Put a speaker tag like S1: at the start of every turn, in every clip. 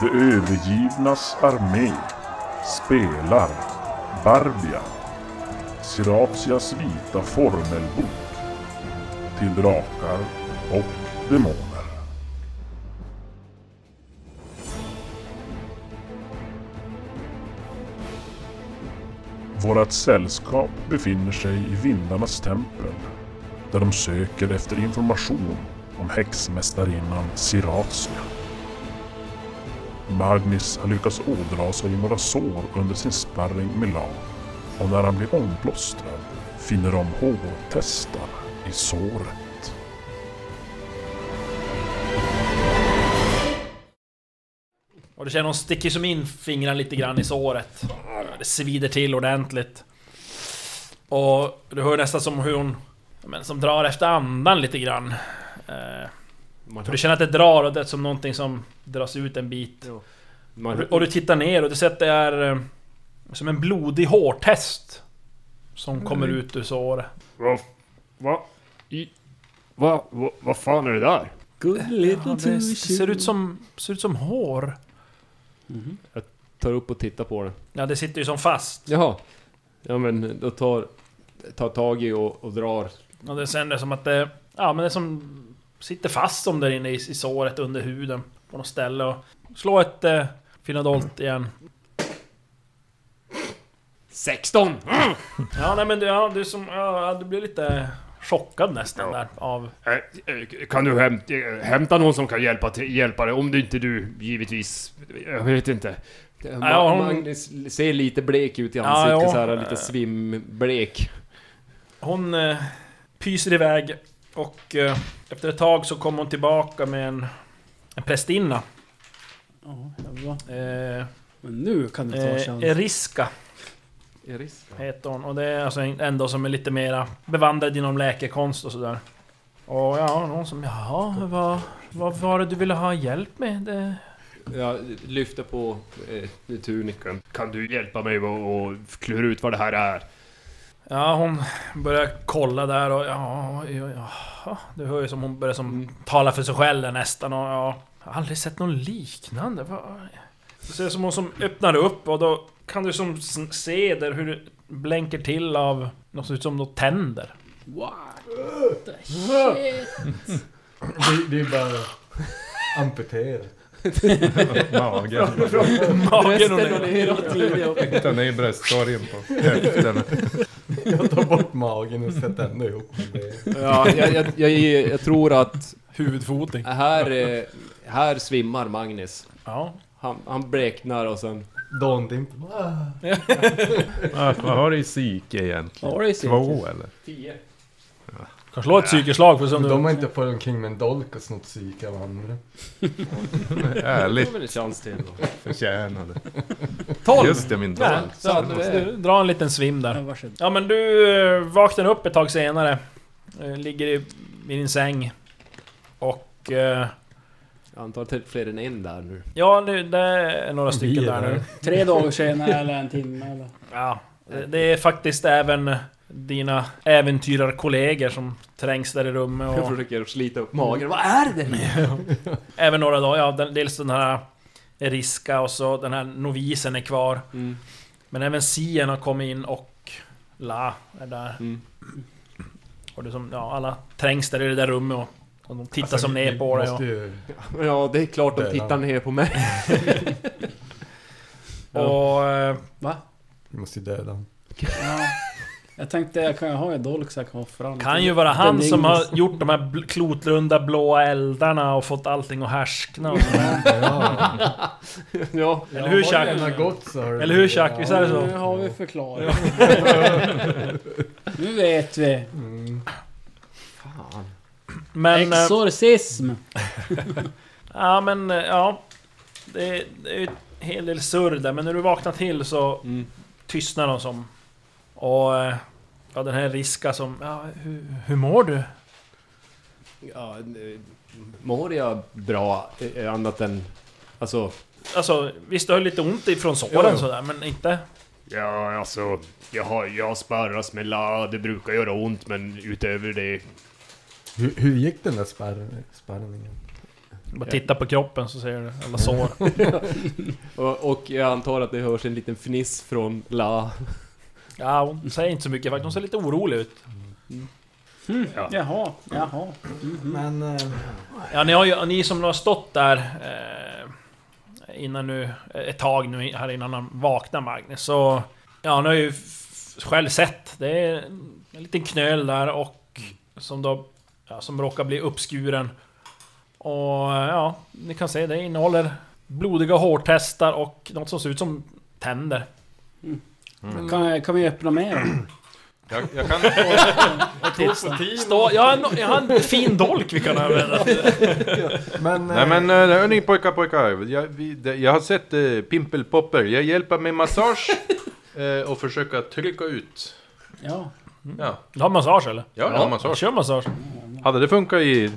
S1: De övergivnas armé spelar Barbia, Siratias vita formelbok till drakar och demoner. Vårat sällskap befinner sig i vindarnas tempel där de söker efter information om häxmästarinnan Siratia. Magnus har lyckats ådra sig några sår under sin sparring med Lan och när han blir omplåstrad finner de hårtestar i såret.
S2: Och du känner hon sticker som in fingrarna lite grann i såret. Det svider till ordentligt. Och du hör nästan som hur hon... ja, Men, som drar efter andan lite grann. Eh,
S3: Man,
S2: för du känner att det drar och det är som någonting som dras ut en bit. Och du,
S3: man,
S2: och du tittar ner och du ser att det är... eh, Som en blodig hårtest. Som kommer ut ur såret.
S3: vad, vad, i, vad, vad, vad fan är det där?
S4: Good little
S2: Ja, det ser ut som... Ser ut som hår.
S3: Tar upp och tittar på den.
S2: Ja, det sitter ju som fast.
S3: Jaha. Ja men då tar, tar tag i och, och drar.
S2: Och det sen det är som att det... Ja men det är som... Sitter fast som där inne i, i såret under huden. På något ställe och... Slå ett... Eh, Finadolt igen.
S3: 16!
S2: Ja nej men du, ja, du som... Ja, du blir lite chockad nästan där av...
S3: Eh, eh, Kan du hämta, hämta någon som kan hjälpa, till- hjälpa dig? Om du inte du, givetvis. Jag vet inte.
S2: Ja, hon-
S3: Magnus ser lite blek ut i
S2: Ja,
S3: ansiktet
S2: ja.
S3: så här, lite svimblek.
S2: Hon eh, pyser iväg och eh, efter ett tag så kommer hon tillbaka med en, en prästinna.
S4: Ja, jävlar.
S2: Eh,
S4: Men nu kan du ta
S2: eh,
S4: chansen.
S2: Eriska
S3: Eris?
S2: heter hon och det är alltså en ändå som är lite mera bevandrad inom läkekonst och sådär. Och ja, någon som jaha, vad, vad var det du ville ha hjälp med? Det...
S3: Jag lyfter på eh, tunikan. Kan du hjälpa mig och, och klura ut vad det här är?
S2: Ja, hon börjar kolla där och ja, ja, jaha. Du hör ju som hon börjar som tala för sig själv där nästan och ja. Jag har aldrig sett någon liknande. Vad- Du ser som hon som öppnar upp och då kan du som s- se där hur det blänker till av något som ser ut som något tänder.
S5: Det, det är bara amputera.
S6: Magen.
S2: Magen och ner.
S6: Hitta ner i bröstkorgen på höften.
S5: Jag tar bort magen och sätter ändå ihop det.
S3: Ja, jag, jag, jag, jag tror att
S2: Huvudfoting.
S3: här, eh, här svimmar Magnus.
S2: Ja.
S3: Han, han bleknar och sen...
S5: Dondimp.
S6: Ah, Vad har du i psyke egentligen?
S4: Ja, det är säkert.
S6: Två eller?
S3: Tio.
S2: Kan slå ett psykeslag för som du...
S5: De har inte farit omkring med en dolk och snott psyke av andra.
S3: Det var
S6: Ärligt
S3: väl en chans till då.
S6: förtjänade.
S2: Tolv!
S6: Just det, min
S2: Nej,
S6: dag.
S2: så att du drar en liten svim där.
S4: Ja, varsågod.
S2: Ja men du eh, vaknar upp ett tag senare. Eh, Ligger i, i din säng. Och... Eh,
S3: Jag antar att det är fler än en där nu.
S2: ja det, det är några stycken
S5: är
S2: där nu.
S5: där.
S4: Tre dagar senare eller en timme eller?
S2: Ja. det- Det är faktiskt även dina äventyrarkollegor som trängs där i rummet
S3: Jag
S2: och
S3: försöker slita upp magen. Vad är det?
S2: även några dagar. Ja, den- dels den här Riska och så den här novisen är kvar.
S3: Mm.
S2: Men även Sien har kommit in och La är där.
S3: Mm.
S2: Och det är som, ja, alla trängs där i det där rummet och, och de tittar
S3: Alltså,
S2: som ner på dig. Och,
S5: Alltså, Måste ju...
S3: Ja, det är klart
S5: Där
S3: de
S5: är
S3: tittar
S5: han.
S3: ner på mig.
S2: och eh,
S4: Va?
S5: Vi måste ju döda honom.
S4: Ja. Jag tänkte jag kan ju ha en dolk så jag kan offra lite.
S2: Kan ju vara han
S4: Den
S2: som har
S4: yngres.
S2: gjort de här bl- klotrunda blåa eldarna och fått allting att härskna. och sådär.
S5: Ja.
S3: ja.
S2: Eller hur
S5: Har det
S2: Chuck?
S5: ena gått så har det-
S2: Eller hur, Chuck? Visst är det så?
S4: Nu har vi förklarat. nu vet vi.
S5: Mm.
S3: Fan.
S2: Men... eh,
S4: Exorcism!
S2: Ja men eh, ja. Det är, det är ju en hel del surr där men när du vaknar till så
S3: Mm.
S2: tystnar de som. Och... eh, Ja den här Riska som... Ja, hur, hur mår du?
S3: Ja, eh, mår jag bra eh, annat än... Alltså...
S2: Alltså visst du har lite ont ifrån såren
S3: Jo, jo.
S2: sådär men inte...
S3: Ja, alltså... Jag, har, jag sparras med la, det brukar göra ont men utöver det...
S5: Hur, hur gick den där spärr, spärrningen?
S2: Bara titta på kroppen så ser du alla sår.
S3: Och, och jag antar att det hörs en liten fniss från La.
S2: Ja, hon säger inte så mycket faktiskt. Hon ser lite orolig ut.
S7: Ja.
S4: Jaha, jaha.
S5: Men... eh,
S2: Ja, ni, har ju, ni som har stått där eh, innan nu, ett tag nu här innan han vaknar Magnus, så... Ja, ni har ju f- själv sett. Det är en liten knöl där och som då... Ja, som råkar bli uppskuren. Och ja, ni kan se det innehåller blodiga hårtestar och något som ser ut som tänder.
S4: Kan, kan vi öppna mer?
S5: Jag, jag kan få...
S2: Stå, jag, har en, jag har en fin dolk vi kan använda.
S5: Men... eh,
S8: Nej men eh, hörni pojkar, pojkar. Jag, vi, det- jag har sett eh, Pimple Popper. Jag hjälper med massage eh, och försöka trycka ut.
S4: Ja.
S9: Mm.
S8: Ja,
S2: Du har massage eller?
S8: jag har massage.
S2: Kör massage.
S8: Hade det funkat i...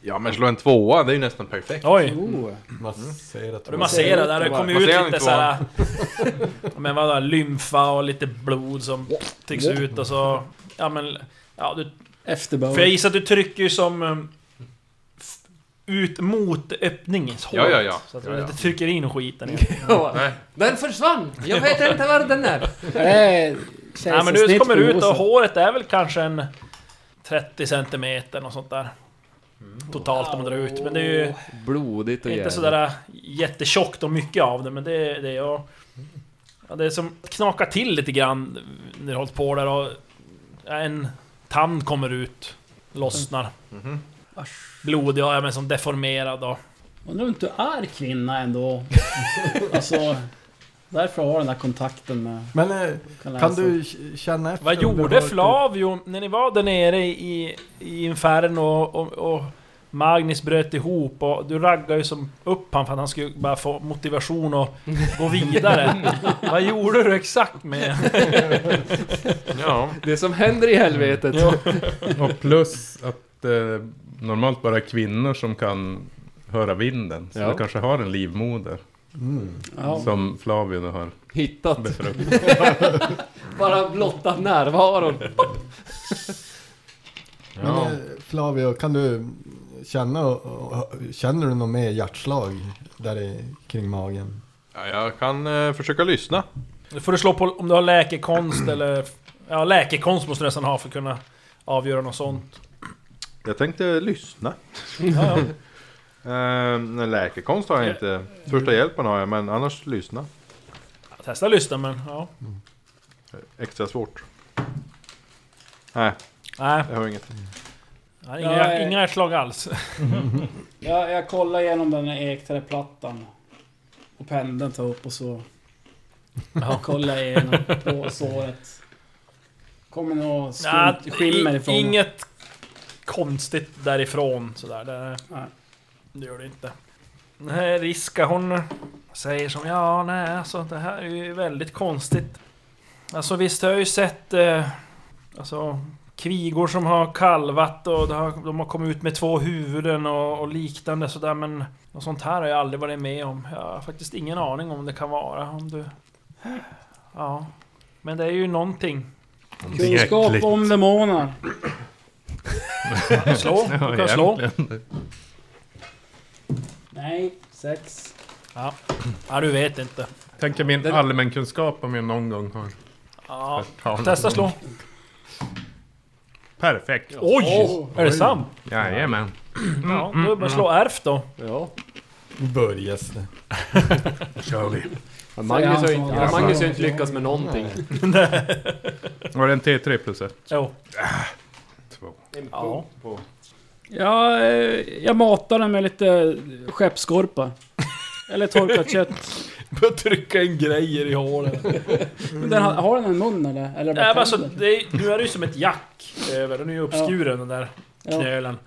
S8: Ja men slå en tvåa, det är ju nästan perfekt.
S2: Oj.
S4: Oh.
S5: eh, Massera,
S2: Och Du masserar där, det kommer ju ut
S8: Masserar inte
S2: lite såhär... ja, Men vadå, lymfa och lite blod som trycks ut och så... Ja men... Ja, du, för jag
S4: Efterbörd.
S2: gissar att du trycker ju som... um, f- Ut mot öppningshålet.
S8: Ja, ja, ja.
S2: Så att
S8: Ja,
S2: du
S8: ja.
S2: inte trycker in skiten i.
S8: Nej.
S3: Den försvann! Jag vet inte var den är!
S4: Nej,
S2: Nej men du kommer ut och håret är väl kanske en... 30 centimeter och sånt där.
S8: Mm.
S2: Totalt om man drar ut. Men det är ju
S3: Blodigt och
S2: inte
S3: jävligt.
S2: sådär jättetjockt och mycket av det, men det, det är jag... Ja, det är som knakar till lite grann när du hållit på där och... ja, En tand kommer ut, lossnar. Blodig och ja, men som deformerad och...
S4: Undrar om du är kvinna ändå? alltså, därför har den där kontakten med...
S5: Men eh,
S4: läsa.
S5: kan du k- känna efter?
S2: Vad
S5: om det
S2: gjorde
S5: var typ-
S2: Flavio när ni var där nere i, i Inferno och, och, och Magnus bröt ihop och du raggade ju som upp han för att han skulle bara få motivation och gå vidare. Vad gjorde du exakt med...
S8: Ja.
S3: Det som händer i helvetet.
S9: Och plus att eh, normalt bara kvinnor som kan höra vinden. Så
S3: Ja.
S9: du kanske har en livmoder.
S4: Ja.
S9: Som Flavio nu har
S3: Hittat.
S9: befruktat.
S3: Bara blotta närvaron.
S5: Men, eh, Flavio, kan du känna, och- och- känner du något mer hjärtslag där i, kring magen?
S8: ja, jag kan eh, försöka lyssna.
S2: Nu får du slå på om du har läkekonst eller... Ja, läkekonst måste du nästan ha för att kunna avgöra något sånt.
S8: Jag tänkte lyssna.
S2: Ja, ja.
S8: Ehm, nej, läkekonst har jag inte. Första hjälpen har jag, men annars lyssna.
S2: Testa lyssna men ja.
S8: Extra svårt. Nej,
S2: Nej,
S8: jag har inget.
S2: nej, inga,
S4: Ja, eh.
S2: inga slag alls.
S4: Jag, jag kollar igenom den här ekträplattan. Och pendeln tar upp och så... Jag kollar igenom på såret. Kommer något
S2: Nej,
S4: skumt skimmer ifrån det.
S2: Inget konstigt därifrån sådär. Det,
S4: Nej.
S2: det gör det inte. Den här Riska hon säger som ja, nej alltså det här är ju väldigt konstigt. Alltså visst har jag ju sett eh, alltså, kvigor som har kalvat och det har, de har kommit ut med två huvuden och, och liknande sådär men något sånt här har jag aldrig varit med om. Jag har faktiskt ingen aning om det kan vara om du... Ja. Men det är ju någonting.
S4: Kunskap om demoner.
S2: Slå,
S9: Ja,
S2: du kan slå.
S9: egentligen.
S4: Nej, sex.
S2: Ja, du vet inte.
S9: Tänker min allmänkunskap om jag någon gång har
S2: Ja,
S9: hört talas om.
S2: testa slå.
S9: Perfekt.
S2: Oj! är det sant?
S9: Jajamän.
S2: Ja, då är det bara att slå ärft då.
S3: Ja.
S5: Börjes det.
S9: Kör vi.
S3: Ja, Magnus har ju inte, ja,
S4: Ja,
S3: Magnus har ju inte lyckats med någonting.
S9: Var det en T3 plus ett?
S2: Jo.
S9: Två.
S2: Ja.
S4: Ja, eh, jag matar den med lite skeppskorpa. Eller torkat kött.
S2: Börja trycka in grejer i hålen.
S4: Men Den har, har den en mun eller? Eller
S2: Mm. Nej, men alltså,
S4: tänder?
S2: det är, nu är det ju som ett jack över. Den är ju uppskuren den där
S4: ja.
S2: knölen.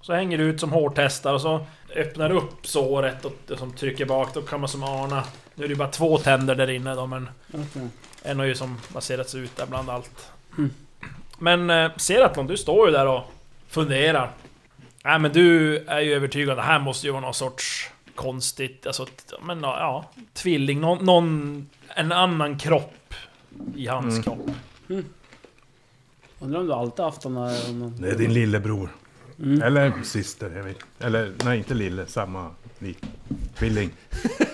S2: Så hänger det ut som hårtestar och så öppnar du upp såret och och som trycker bak. Då kan man som ana. Nu är det ju bara två tänder där inne då, men
S4: okej.
S2: en har ju som baserats ut där bland allt. Men eh, Seratlon, du står ju där och funderar. Nej men du är ju övertygad, det här måste ju vara någon sorts konstigt, alltså t- men ja, tvilling, någon, någon en annan kropp i hans kropp.
S4: Undrar om du alltid haft den där... om-
S9: Det är din lillebror.
S4: Mm.
S9: Eller syster, jag vet. Eller nej, inte lille, samma lik. Tvilling.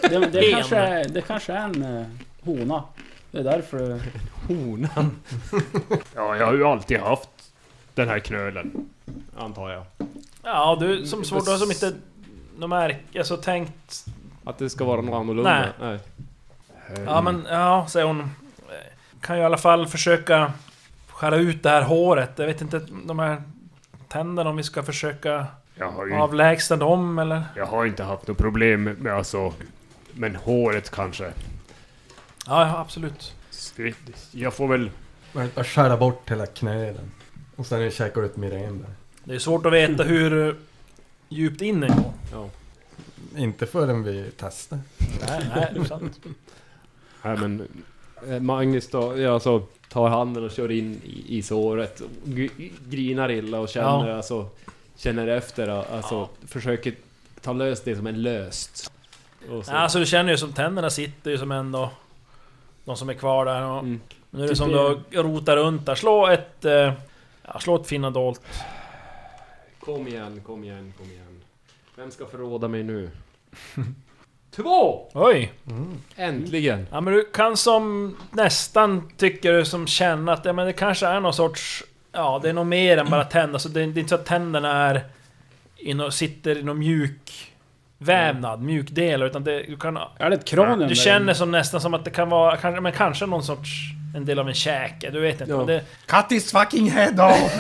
S4: Det, det, kanske, är, det kanske är en eh, hona. Det är därför det...
S3: Honan,
S7: Ja, jag har ju alltid haft den här knölen.
S3: antar jag.
S2: Ja, du som svårt, du har som inte... De märker, alltså tänkt...
S3: Att det ska vara något annorlunda. Nej.
S2: Ja men, ja, säger hon. Kan ju i alla fall försöka skära ut det här håret. Jag vet inte, de här tänderna, om vi ska försöka
S7: Jag har
S1: Mm.
S7: ju
S2: avlägsna dem eller?
S7: jag har inte haft något problem med alltså... Men håret kanske.
S2: Ja, ja, absolut.
S7: Det- Jag får väl...
S5: Jag skär bort hela knölen. Och sen käkar du ett mirenbär.
S2: Det är svårt att veta hur eh, djupt in den går.
S5: Inte förrän vi testar.
S2: Nej, nej, det är sant.
S3: Nej, men eh, Magnus då, ja, alltså, tar handen och kör in i, i såret. och gr- Grinar illa och känner,
S2: Ja.
S3: alltså, känner efter. Alltså, Försöker ta lös det som är löst. Och så,
S2: Ja, Alltså du känner ju som tänderna sitter ju som ändå... De som är kvar där och...
S3: Mm.
S2: Nu är det som du rotar runt där. Slå ett... eh, Ja, slå ett finna dolt.
S3: Kom igen, kom igen, kom igen. Vem ska förråda mig nu? Två!
S2: Oj!
S3: Äntligen!
S2: Ja men du kan som nästan, tycker du, som känna att ja, men det kanske är någon sorts... Ja, det är nog mer än bara tänder. Så det, det är inte så att tänderna är... I nå- sitter i någon mjuk... Vävnad, mjuk del, utan det, du kan...
S4: Är det ett kranium där
S2: Du
S4: inne?
S2: känner som nästan som att det kan vara, kanske, men kanske någon sorts... En del av en käke, du vet inte.
S3: Ja.
S2: Men, det,
S9: Cut his fucking head off!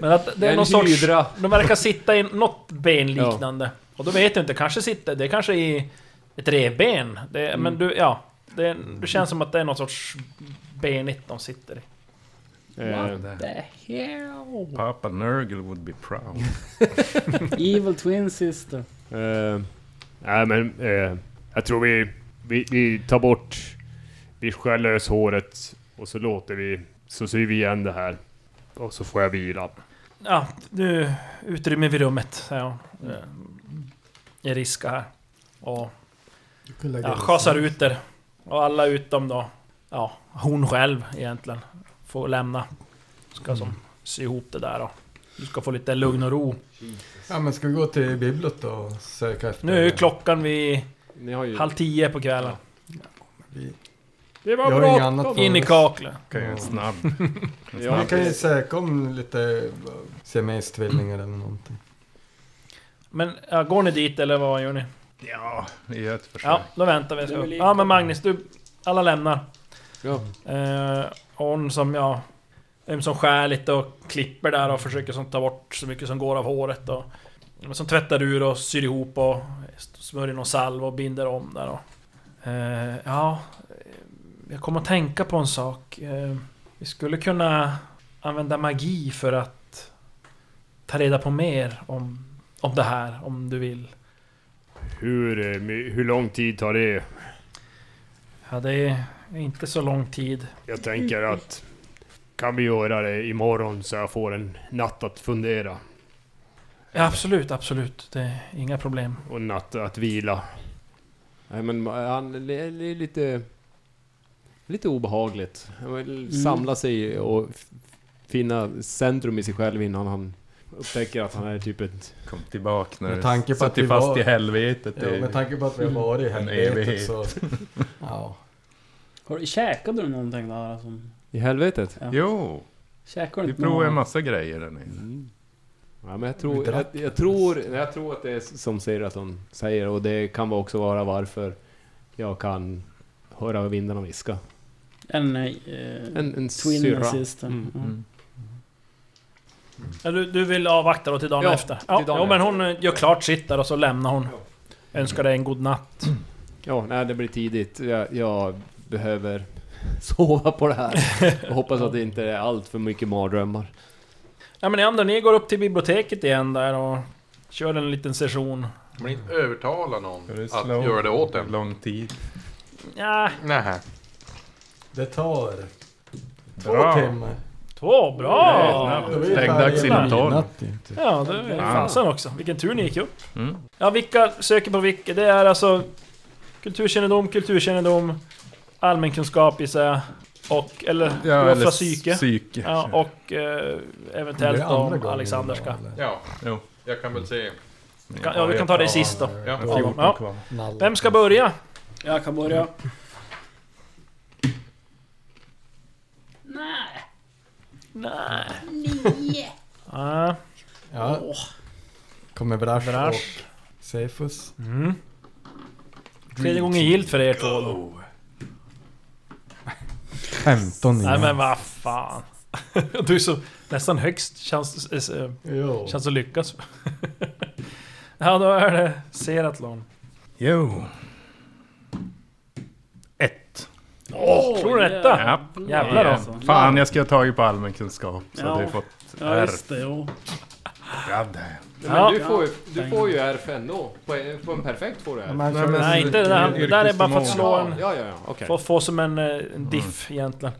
S2: men att det är
S3: En
S2: någon sorts...
S3: hydra.
S2: De verkar sitta i något ben liknande. Och då vet du inte, kanske sitter... Det är kanske i ett revben. Det,
S3: Mm.
S2: Men du, ja. Det, du känns som att det är någon sorts benigt de sitter i.
S3: Mm.
S7: Eh,
S4: The hell?
S9: Papa Nurgle would be proud.
S4: Evil Twin Sister.
S7: eh, nej men... Eh, jag tror vi, vi... Vi tar bort... Vi skär lös håret och så låter vi... Så syr vi igen det här. Och så får jag vila.
S2: Ja, nu utrymme vid rummet, säger hon. Jag riskar här. Och
S5: Du kan lägga
S2: ja,
S5: det liksom-
S2: schasar ut er. Och alla utom då, ja, hon själv egentligen, får lämna. Ska som
S5: Mm.
S2: sy ihop det där då. Du ska få lite lugn och ro.
S5: så. Ja men ska vi gå till biblot och söka efter...
S2: Nu är ju klockan vid
S3: Ni har ju...
S2: halv tio på kvällen.
S5: Vi
S7: Det
S5: jag har ju inget annat för
S2: In i
S5: oss.
S2: kaklet.
S9: Kan ju en snabb.
S3: Ja,
S5: Vi kan ju söka om lite siamestvillingar eller någonting.
S2: Men ja, går ni dit eller vad gör ni?
S9: Ja, vi gör ett försök.
S2: Ja, då väntar vi. Så. Ja men Magnus, du... Alla lämnar.
S3: ja.
S2: Eh, hon som jag... Vem som skär lite och klipper där och försöker som ta bort så mycket som går av håret och... men Som tvättar ur och syr ihop och smörjer någon salva och binder om där och... Eh, ja... eh, Jag kommer att tänka på en sak. Eh, vi skulle kunna använda magi för att... Ta reda på mer om, om det här, om du vill.
S7: Hur, eh, my- hur lång tid tar det?
S2: Ja, det är inte så lång tid.
S7: Jag tänker att kan vi göra det imorgon så jag får en natt att fundera
S2: Ja, absolut, absolut. Det är inga problem.
S7: och en natt att vila.
S3: Nej men eh, han är lite... Lite obehagligt. Han vill samla sig och f- finna centrum i sig själv innan han upptäcker att han är typ ett...
S9: Kom tillbaka när
S5: Med
S9: du
S5: tanke på att
S9: suttit
S5: vi
S9: fast
S5: var-
S9: i helvetet.
S5: Ja,
S9: i-
S5: med tanke på att vi har varit i
S9: En
S5: helvetet
S9: evighet.
S5: så... Ja.
S4: Har du, käkade du någonting där? Alltså,
S3: I helvetet?
S9: Jo,
S4: käkade du
S9: vi
S4: inte
S9: provar en
S4: någon-
S9: massa grejer där nere.
S3: Mm. Ja, men jag,
S5: Vi
S3: tror, jag,
S5: drack.
S3: jag, tror, jag tror att det är som Seraton säger och det kan också vara varför jag kan höra vindarna viska.
S4: En, eh,
S3: En, en
S4: Twin
S3: syrra.
S4: Sister.
S3: Mm.
S4: Ja.
S2: Ja, du, du vill avvakta då till dagen
S3: Ja,
S2: efter?
S3: till
S2: Ja,
S3: dagen
S2: jo, men
S3: efter.
S2: hon eh, gör klart sitt där och så lämnar hon. Önskar dig en god natt.
S3: Ja, nej, det blir tidigt. Jag, jag behöver sova på det här. Och hoppas att det inte är allt för mycket mardrömmar.
S2: Ja men ni andra, ni går upp till biblioteket igen där och kör en liten session.
S8: Men inte övertala någon
S9: Ska du
S8: att
S9: slå
S8: göra det åt
S9: hur
S8: en.
S9: Lång tid.
S2: Ja,
S8: Nej.
S5: Det tar två
S9: Bra.
S5: timmar.
S2: två, bra!
S5: Då är vi
S9: Stängdags
S5: färdiga
S9: inom tolv.
S5: midnatt, inte.
S2: Ja, det är
S9: Ja.
S2: fasen också. Vilken tur ni gick upp.
S9: Mm.
S2: Ja, vilka söker på vilka? Det är alltså kulturkännedom, kulturkännedom, allmänkunskap gissar jag. Och, eller,
S9: Ja,
S2: du
S9: eller
S2: offrar psyke.
S9: psyke.
S2: Ja, och eh, eventuellt
S5: Det är andra
S2: om
S5: gången
S2: Alexanderska.
S5: idag, eller?
S8: Ja, jo. Jag kan väl säga.
S2: Kan- Ja, vi kan ta det sist då.
S8: Ja,
S5: Ja,
S9: 14
S2: Ja.
S9: kvar.
S5: nall.
S2: Vem ska börja?
S4: Jag kan börja.
S2: Nej. Ah,
S5: Ja. Kommer Brash,
S2: Brash.
S5: och Cephus.
S2: Mm. Tredje gången gillt för er två då.
S5: 15
S2: Nej men vad fan. Du är så nästan högst chans, eh,
S5: Jo.
S2: chans att lyckas. Ja, då är det Seratlon.
S9: Jo. Ett.
S2: Tror du detta?
S9: Japp.
S2: Jävlar då.
S4: alltså.
S9: Fan, jag ska ha tagit på allmänkunskap. Så
S4: Ja.
S9: ja. det har fått
S4: Ja,
S9: R.
S4: just det. Jo.
S9: God damn.
S3: Men
S2: Ja.
S3: du, får ju, du får ju R för ändå. På en, på en perfekt får du R.
S5: Men,
S9: Nej, men-
S2: Nej inte det där. Det där är bara för att slå en...
S3: Jaha, Ja, ja, ja. Okej.
S2: För att få som en, eh,
S9: Mm.
S2: en diff egentligen.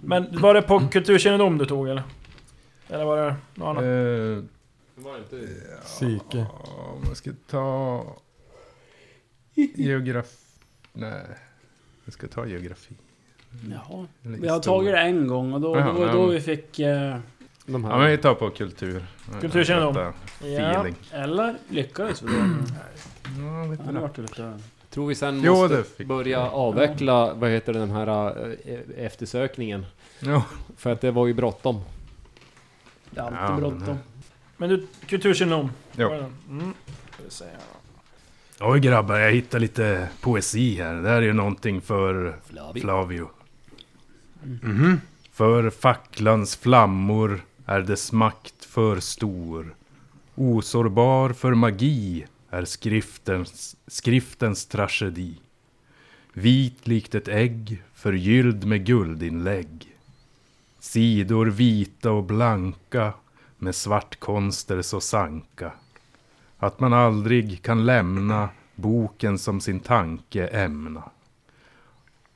S2: Men var det på kulturkännedom du tog eller? Eller var det något annat?
S9: Eh,
S3: Det var inte...
S5: Psyke.
S9: om jag ska ta... Geografi... Nej. Jag ska ta geografi.
S4: Jaha.
S9: Eller
S4: Vi har tagit
S9: historia.
S4: det en gång och då,
S9: Jaha,
S4: det var då
S9: ja.
S4: vi fick... Eh,
S3: De
S9: Ja, men vi tar på kultur.
S2: Kulturkännedom.
S9: Detta
S2: Ja.
S9: Eh,
S2: Mm.
S9: Feeling.
S4: eller lyckades vi då?
S9: Ja, vet
S4: Ja, det
S9: du det.
S4: vart det lite...
S3: Tror vi sen
S9: Jo, det
S3: måste
S9: fick-
S3: börja avveckla, vad heter den här eh, eftersökningen?
S9: Ja.
S3: För att det var ju bråttom.
S4: Det är
S9: Ja,
S4: alltid
S9: men-
S4: bråttom.
S2: Men du, kulturkännedom?
S9: Jo.
S2: Var det den? Mm. Ska vi se här då.
S9: Oj grabbar, jag hittar lite poesi här. Det här är ju någonting för
S3: Flavio.
S9: Flavio. Mhm. För facklans flammor är dess makt för stor. Osårbar för magi är skriftens, skriftens tragedi. Vit likt ett ägg, förgylld med guldinlägg. Sidor vita och blanka med svartkonster så sanka. Att man aldrig kan lämna boken som sin tanke ämna.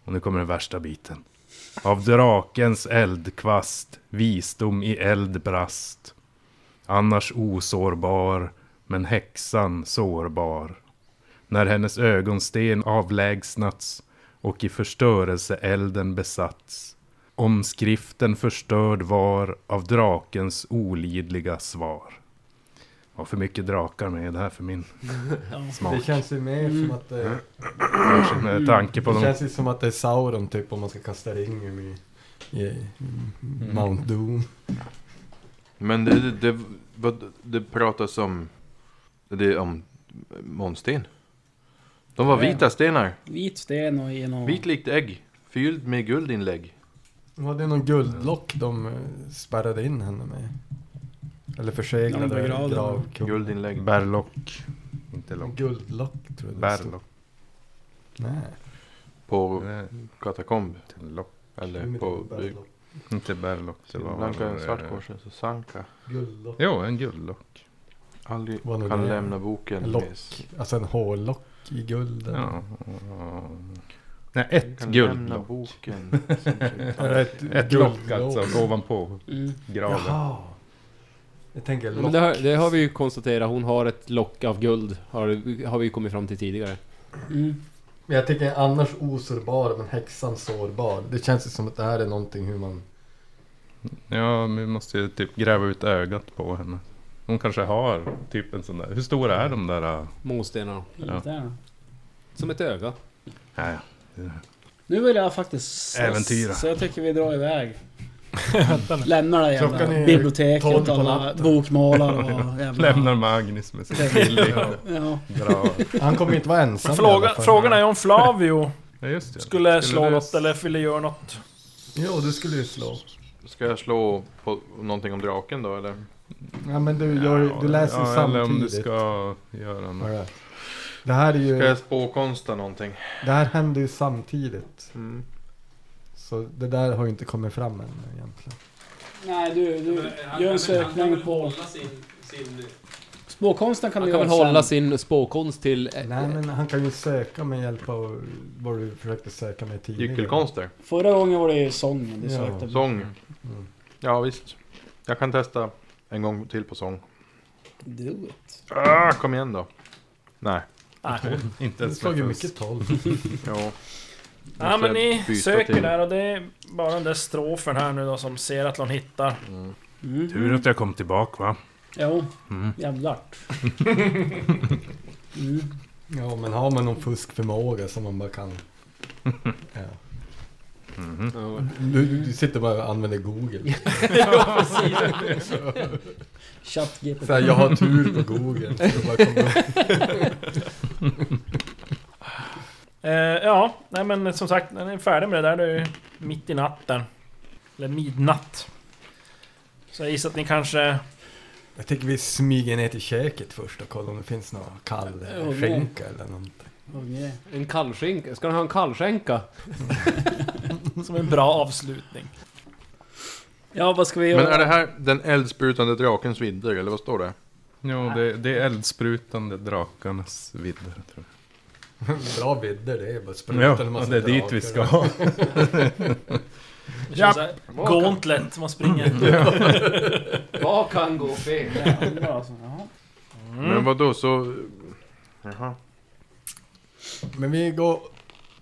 S9: Och nu kommer den värsta biten. Av drakens eldkvast, visdom i eld brast. Annars osårbar, men häxan sårbar. När hennes ögonsten avlägsnats och i förstörelseelden besatts. Om skriften förstörd var av drakens olidliga svar. Var för mycket drakar med i det här för min
S5: Det
S9: smak.
S5: känns ju mer som att det,
S9: Kanske Med tanke Mm. på
S5: det
S9: de
S5: känns ju som att det är Sauron typ om man ska kasta ringen i, i
S9: Mm.
S5: Mount Doom.
S8: Men det, det, det, vad- det pratas om... Det är om månsten. De var
S4: Ja.
S8: vita stenar.
S4: Vit sten och genom...
S8: Vit likt ägg. Fylld med guldinlägg.
S5: De hade någon guldlock de eh, spärrade in henne med. Eller
S4: Ja, de
S5: förseglade
S4: begravde
S5: gravkungen.
S8: Guldinlägg.
S9: bärlock. Inte lock.
S5: Guldlock tror jag det stod.
S9: Bärlock.
S5: Nej.
S8: På
S9: Nej,
S8: katakomb.
S9: inte lock.
S8: Eller på...
S5: Bärlock.
S9: Inte bärlock. Det var...
S8: Blanka en
S9: eh,
S8: svart korsare, så sanka.
S5: Guldlock.
S9: Jo, en guldlock.
S8: Aldrig
S5: Vad nu
S8: kan
S5: det är.
S8: lämna boken.
S5: En
S8: med-
S5: lock. Alltså en hårlock i guld. eller?
S9: Ja. Nej, ett
S8: Kan lämna
S9: guldlock.
S8: boken.
S5: Eller ett,
S9: Ett lock alltså, ovanpå
S4: Mm.
S9: graven.
S5: Jaha. Jag tänker
S3: Men
S5: lock.
S3: det, har, det har vi ju konstaterat, hon har ett lock av guld. Har, har vi ju kommit fram till tidigare.
S4: Mm.
S5: Men jag tänker annars osårbar men häxan sårbar. Det känns ju som att det här är någonting hur man...
S9: Ja, men vi måste ju typ gräva ut ögat på henne. Hon kanske har typ en sån där. Hur stora är de där? äh?
S3: Månstenarna.
S9: Ja.
S4: Där.
S3: Som ett öga.
S9: Nej.
S4: Nu vill jag faktiskt... s-
S9: Äventyra.
S4: Så jag tycker vi drar iväg. Lämnar det
S5: Klockan
S4: jävla
S5: är
S4: biblioteket
S5: tolv
S4: och
S5: på
S4: alla
S5: natten.
S4: bokmålar och jävla...
S9: Lämnar Magnus med sin billiga
S4: Ja.
S9: grav.
S5: Han kommer inte vara ensam i alla
S2: Fråga,
S5: fall.
S2: frågan är ju om Flavio
S9: Ja, just det.
S2: skulle slå
S9: du-
S2: något eller ville göra något.
S5: Jo, du skulle ju slå.
S8: Ska jag slå på någonting om draken då eller?
S5: Ja men du, gör, du läser ju
S9: ja, Eller om du
S5: samtidigt.
S9: ska göra något.
S5: Hörru. Det här är ju...
S8: Ska jag spåkonsta någonting?
S5: Det här händer ju samtidigt.
S8: Mm.
S5: Så det där har ju inte kommit fram än egentligen.
S4: Nej, du, du gör en sökning på... Spåkonsten kan
S3: Han
S4: du
S3: kan
S4: göra
S3: väl hålla
S4: sen.
S3: sin spåkonst till... eh,
S5: Nej men han kan ju söka med hjälp av vad du försökte söka med tidigare.
S8: Gyckelkonster?
S4: Förra gången var det ju sången du
S5: Ja.
S4: sökte.
S8: Sång?
S5: Mm.
S8: Ja visst. Jag kan testa en gång till på sång.
S4: Do it.
S8: Ah, kom igen då. Ah. Nej.
S2: Nej.
S9: Inte
S5: Du
S9: ens
S5: slog ju
S9: med fusk.
S5: mycket tolv.
S8: Jo.
S2: Ja men ni
S8: byta
S2: söker
S8: till-
S2: där och det är bara den där strofen här nu då som ser att någon hittar.
S4: Mm.
S9: Tur att jag kom tillbaka va?
S4: Jo,
S9: Mm.
S4: jävlar. Mm.
S5: Ja, men har man någon fuskförmåga som man bara kan... Ja.
S9: Mhm.
S5: Du, du sitter bara och använder Google.
S4: ChatGPT.
S5: Så här, jag har tur på Google. Så det bara kommer upp.
S2: Eh, ja, nej men som sagt, när ni är färdiga med det där, det är ju mitt i natten. Eller midnatt. Så jag gissar att ni kanske...
S5: jag tänker vi smyger ner till köket först och kollar om det finns någon kall eh,
S4: Ja, det-
S5: skinka eller någonting.
S4: Okej.
S3: En kallskänka? Ska ni ha en kallskänka?
S2: Som en bra avslutning.
S4: Ja, vad ska vi göra?
S8: Men är det här den eldsprutande drakens vidder, eller vad står det?
S9: Ja, det, det är eldsprutande drakarnas vidder. Tror
S5: Bra vidder det är bara
S9: jag.
S5: sprutar
S9: Ja,
S5: en
S9: och
S5: massa
S9: det är dit
S5: drakar.
S9: vi ska.
S2: Det känns såhär, Gauntlet, man springer.
S3: Vad kan gå fel?
S4: Jävlar alltså. Jaha.
S8: Men vad då så... Jaha.
S5: Men vi går och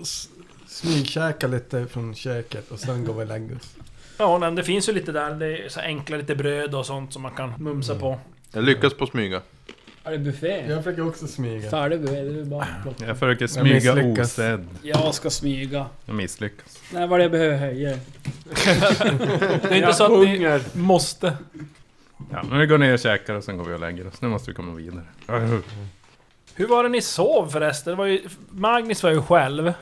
S5: s- smygkäkar lite från köket och sen går vi och lägger oss.
S2: Ja, nej, men det finns ju lite där, det är så här enkla lite bröd och sånt som man kan mumsa på.
S8: Jag lyckas på smyga.
S4: Är det buffé?
S5: Jag försöker också smyga.
S4: Färdig buffé, det är bara att plocka.
S9: Jag försöker smyga
S5: misslyckas.
S9: osedd.
S4: Jag ska smyga.
S9: Jag misslyckas.
S4: Nej, vad är det jag behöver höja?
S2: Det är inte så att ni måste.
S9: Ja, men vi går ner och käkar och sen går vi och lägger oss. Nu måste vi komma vidare.
S2: Hur var det ni sov förresten? Det var ju, Magnus var ju själv.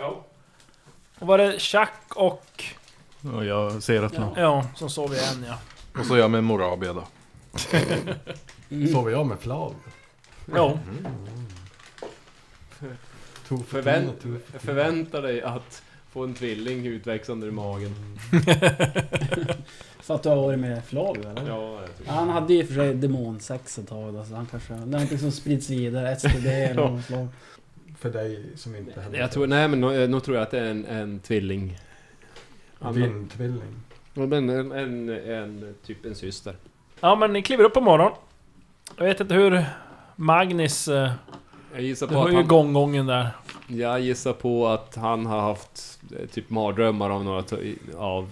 S2: Och var det Chuck och...
S9: Och jag ser att någon...
S2: Ja, som sov igen ja.
S8: Och så är jag med Morabia då.
S5: Sover jag med Flavio?
S2: Jo.
S5: Tog för
S3: Förvänt-
S5: tunna, tog för-
S3: Jag förväntar dig att få en tvilling utväxande ur magen.
S4: För att du har varit med Flavio eller?
S3: Ja, jag tror
S4: Ja, Han hade ju i och för sig demonsex ett tag då, så han kanske... Det är någonting som sprids vidare, STD eller något slag.
S5: För dig som inte hade...
S3: Jag tror, nej men nog, nog tror jag att det är en, en tvilling.
S5: Din tvilling.
S3: Ja, men en, en, en, typ en syster.
S2: Ja men ni kliver upp på morgonen. Jag vet inte hur Magnus... eh,
S3: Jag gissar
S2: Du
S3: på
S2: har
S3: att
S2: ju
S3: han,
S2: gånggången där.
S3: Jag gissar på att han har haft eh, typ mardrömmar av några... t- Av,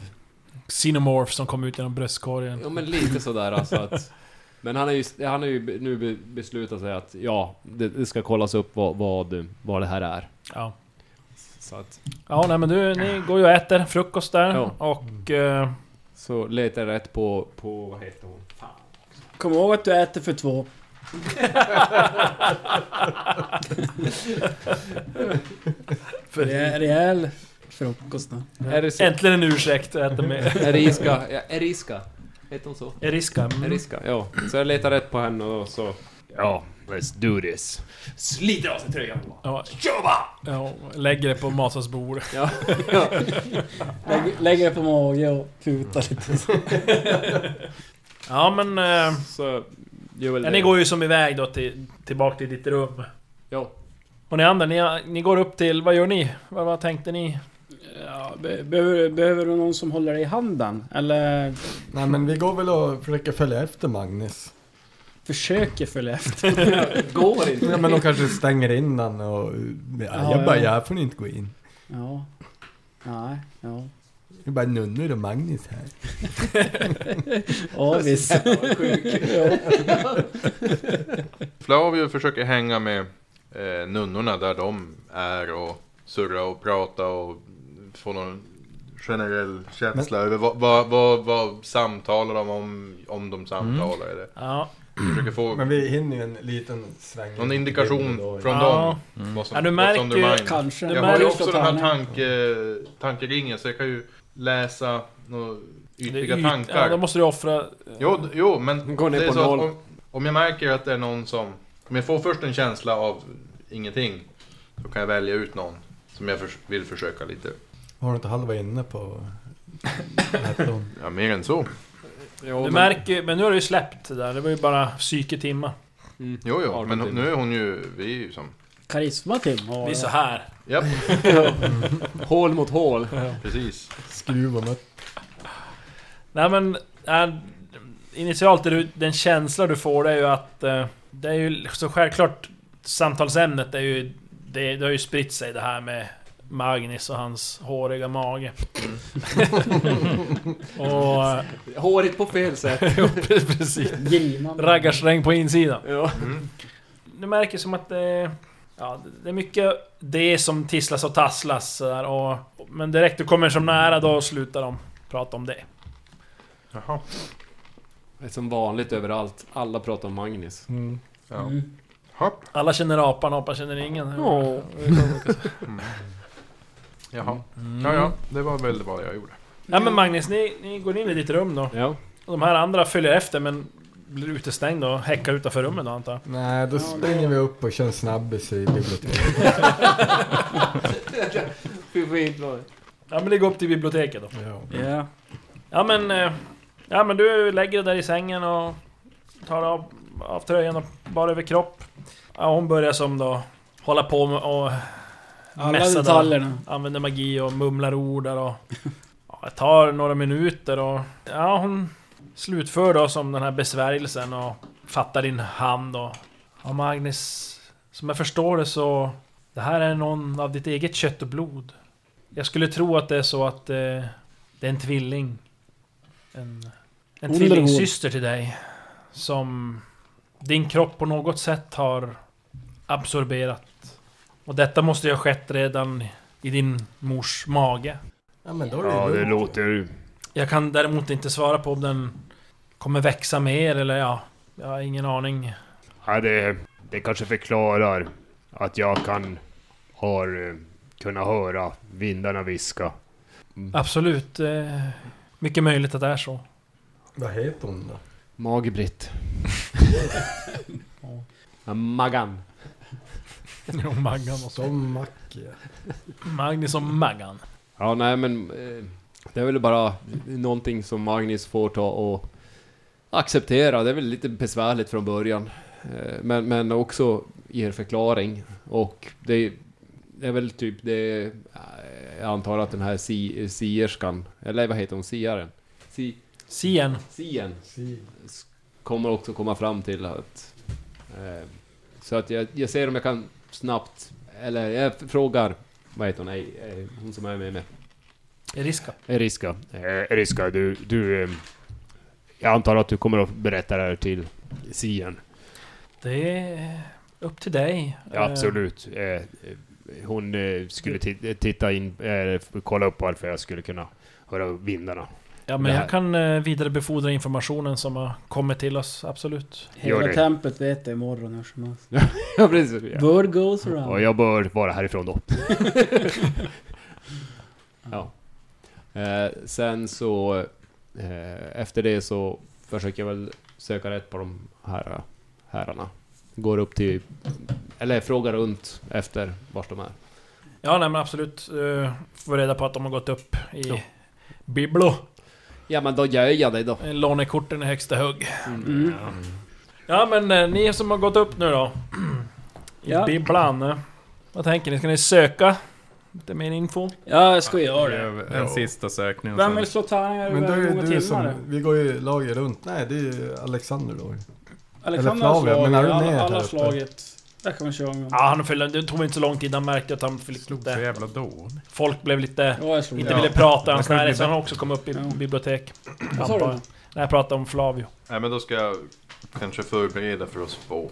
S2: Xenomorph som kom ut genom bröstkorgen.
S3: ja men lite sådär alltså att... Men han har ju, han har ju be- nu be- beslutat sig att ja, det, det ska kollas upp vad, vad, vad det här är.
S2: Ja.
S3: Så att...
S2: Ja, nej men du, ni går ju och äter frukost där.
S3: Ja.
S2: Och... eh,
S3: Så letar jag rätt på, på... Vad heter hon?
S4: Kom ihåg att du äter för två. för det är rejäl frukost nu.
S3: Eriska.
S2: äntligen en ursäkt att äta med.
S3: Eriska. Ja, Eriska. Heter hon så?
S2: Eriska. Mm.
S3: Eriska, ja. Så jag letar rätt på henne och så... Ja, let's do this. Sliter av sig tröjan.
S2: Ja. Ja, lägger det på Masas bord.
S3: Ja.
S4: Lägg, lägger det på mage och putar lite. så.
S2: Ja men... eh,
S3: Så gör väl
S2: ja,
S3: det.
S2: ni går ju som iväg då till, tillbaka till ditt rum.
S3: Ja.
S2: Och ni andra, ni, ni går upp till... Vad gör ni? Vad, vad tänkte ni?
S4: Ja, be, behöver, behöver du någon som håller dig i handen? Eller
S5: Nej men vi går väl och försöker följa efter Magnus.
S4: försöker följa efter?
S3: Går inte.
S5: Ja, men de kanske stänger in den och... Ja, jag bara,
S4: ja.
S5: jag får ni inte gå in.
S4: Ja. Nej, ja.
S5: Det är bara nunnor och Magnus här.
S4: Ja visst.
S8: Flavio försöker hänga med eh, nunnorna där de är och surra och prata och få någon generell känsla över vad, vad, vad, vad samtalar de om, om de samtalar eller
S2: Ja,
S8: försöker få
S5: Men vi hinner ju en liten sväng.
S8: någon indikation
S5: Då.
S8: från
S2: Ja.
S8: dem. Vad som,
S2: Ja, du
S8: vad som
S2: märker
S8: du
S2: ju
S8: mind.
S4: Kanske.
S8: Jag har ju också den här tanke, tankeringen så jag kan ju läsa några ytliga
S2: yt-
S8: tankar.
S2: Ja, då måste du offra...
S8: Jo, d- jo men
S3: Gå ner
S8: det är
S3: på
S8: så att
S3: noll.
S8: om, om jag märker att det är någon som... Om jag får först en känsla av ingenting, så kan jag välja ut någon som jag förs- vill försöka lite.
S5: Har du inte halva inne på... vad heter hon?
S8: Ja, mer än så.
S3: Jo,
S2: Du
S3: men-
S2: märker ju- men nu har du ju släppt det där. Det var ju bara psyketimma.
S3: Mm.
S8: Jo, jo,
S3: Arton
S8: men hon-
S3: timmar.
S8: nu är hon ju... Vi är ju som...
S4: Karisma Tim har
S2: Det är så
S4: jag.
S2: här.
S8: Japp,
S3: Hål mot hål.
S8: precis.
S5: Skruv och mött.
S2: Nej men... Äh, initialt, är du, den känsla du får det är ju att... eh, Det är ju så självklart... Samtalsämnet är ju... Det, det har ju spritt sig det här med Magnus och hans håriga mage. och... eh,
S3: Hårigt på fel sätt.
S2: jo, precis.
S4: Grinande.
S2: Raggarsträng på insidan.
S3: ja.
S2: Du märker som att det... Ja, det är mycket det som tisslas och tasslas sådär, och, Men direkt du kommer som nära då slutar de prata om det.
S8: Jaha.
S3: Det är som vanligt överallt. Alla pratar om Magnus.
S8: Ja.
S4: Mm.
S8: Hopp.
S2: Alla känner apan, apan känner ingen.
S3: Ja.
S8: Jaha.
S3: Mm.
S8: Ja, ja. Det var väl vad jag gjorde.
S2: Ja men Magnus, ni, ni går in i ditt rum då.
S3: Ja.
S2: Och de här andra följer efter men blir utestängda och häckar utanför rummet då antar jag.
S5: Nej, då springer vi upp och kör en snabbis i biblioteket.
S3: Hur fint var det?
S2: Ja men det går upp till biblioteket då.
S5: Ja.
S4: Ja.
S2: Ja men... eh, Ja men du lägger dig där i sängen och tar av, av tröjan och bara över kropp. Ja, hon börjar som då hålla på med och
S4: Alla
S2: Mässa där.
S4: detaljerna.
S2: använder magi och mumlar ord där och... Ja, det tar några minuter och... Ja, hon slutför då som den här besvärjelsen och fattar din hand och... Ja, Magnus, som jag förstår det så... Det här är någon av ditt eget kött och blod. Jag skulle tro att det är så att eh, det är en tvilling. En, en
S4: Hon eller hon?
S2: tvillingsyster till dig. Som din kropp på något sätt har absorberat. Och detta måste ju ha skett redan i din mors mage.
S5: ja, men då är det
S7: Ja, det
S5: lugnt.
S7: låter ju...
S2: Jag kan däremot inte svara på om den kommer växa mer eller ja... Jag har ingen aning.
S7: Ja, det, det kanske förklarar att jag kan... Har eh, kunnat höra vindarna viska.
S2: Absolut. Eh, mycket möjligt att det är så.
S5: Vad heter hon då?
S3: Magebritt. ja. Maggan.
S2: Jo, Maggan och så.
S5: Som Mackie.
S2: Magnus och Maggan.
S3: Ja, nej men... eh, Det är väl bara någonting som Magnus får ta och acceptera. Det är väl lite besvärligt från början. Eh, Men, men också ger förklaring. Och det det är väl typ det... eh, Jag antar att den här si, sierskan, eller vad heter hon, siaren? Si,
S2: Sien.
S3: sien
S5: Si.
S3: s- kommer också komma fram till att... Eh, så att jag, jag ser om jag kan snabbt... Eller jag frågar... Vad heter hon? Eh, eh, hon som är med mig.
S2: Eriska.
S7: Eriska. Eh, Eriska, du... du eh, jag antar att du kommer att berätta det här till Sien.
S2: Det är upp till dig.
S7: Ja, absolut. Eh, eh, hon eh, skulle ti- titta in, eh, kolla upp varför jag skulle kunna höra vindarna.
S2: Eh, ja,
S7: Det
S2: men
S7: här-
S2: jag kan eh, vidarebefordra informationen som har kommit till oss. Absolut.
S7: Gör
S4: Hela
S7: det.
S4: tempet vet det imorgon när som helst.
S3: ja, precis. Ja.
S4: Word goes
S7: Och
S4: around.
S7: jag bör vara härifrån då.
S3: Ja. Eh, sen så... Eh, efter det så försöker jag väl söka rätt på de här eh, herrarna. Går upp till... Eller frågar runt efter vart de är.
S2: Ja, nej men absolut. Eh, får reda på att de har gått upp i... Biblo.
S3: Ja, men då gör jag det då.
S2: Eh, Lånekorten i högsta hugg.
S4: Mm.
S2: Ja men eh, ni som har gått upp nu då. I
S4: Ja.
S2: bibblan. eh, Vad tänker ni? Ska ni söka? Lite mer info?
S4: Ja, jag ska göra det.
S9: Gör En sista sökning. och
S4: Vem
S9: sen-
S4: vill slå tärningar
S5: Men då är
S4: över hur många
S5: det du
S4: timmar? det?
S5: som... Vi går ju lager runt. Nej, det är ju Alexander då.
S4: Alexander
S5: Eller
S4: har
S5: Flavia,
S4: slagit,
S5: men är du
S4: alla,
S5: med
S4: alla
S5: här
S4: har
S5: uppe?
S4: slagit. Där kan vi köra en gång.
S2: Ja, han fyllde, det tog inte så lång tid. Han märkte att han fick
S9: Slog så
S2: lite...
S9: jävla dåligt.
S2: Folk blev lite...
S4: Ja, jag slog
S2: Inte
S4: det.
S2: ville prata i hans
S9: kan ju
S2: närhet,
S9: bli
S2: så han har också kommit upp i
S4: Ja.
S2: bibliotek.
S4: Vad sa du?
S2: Antar jag. Nej, jag pratar om Flavio.
S8: Nej, men då ska jag kanske förbereda för oss få.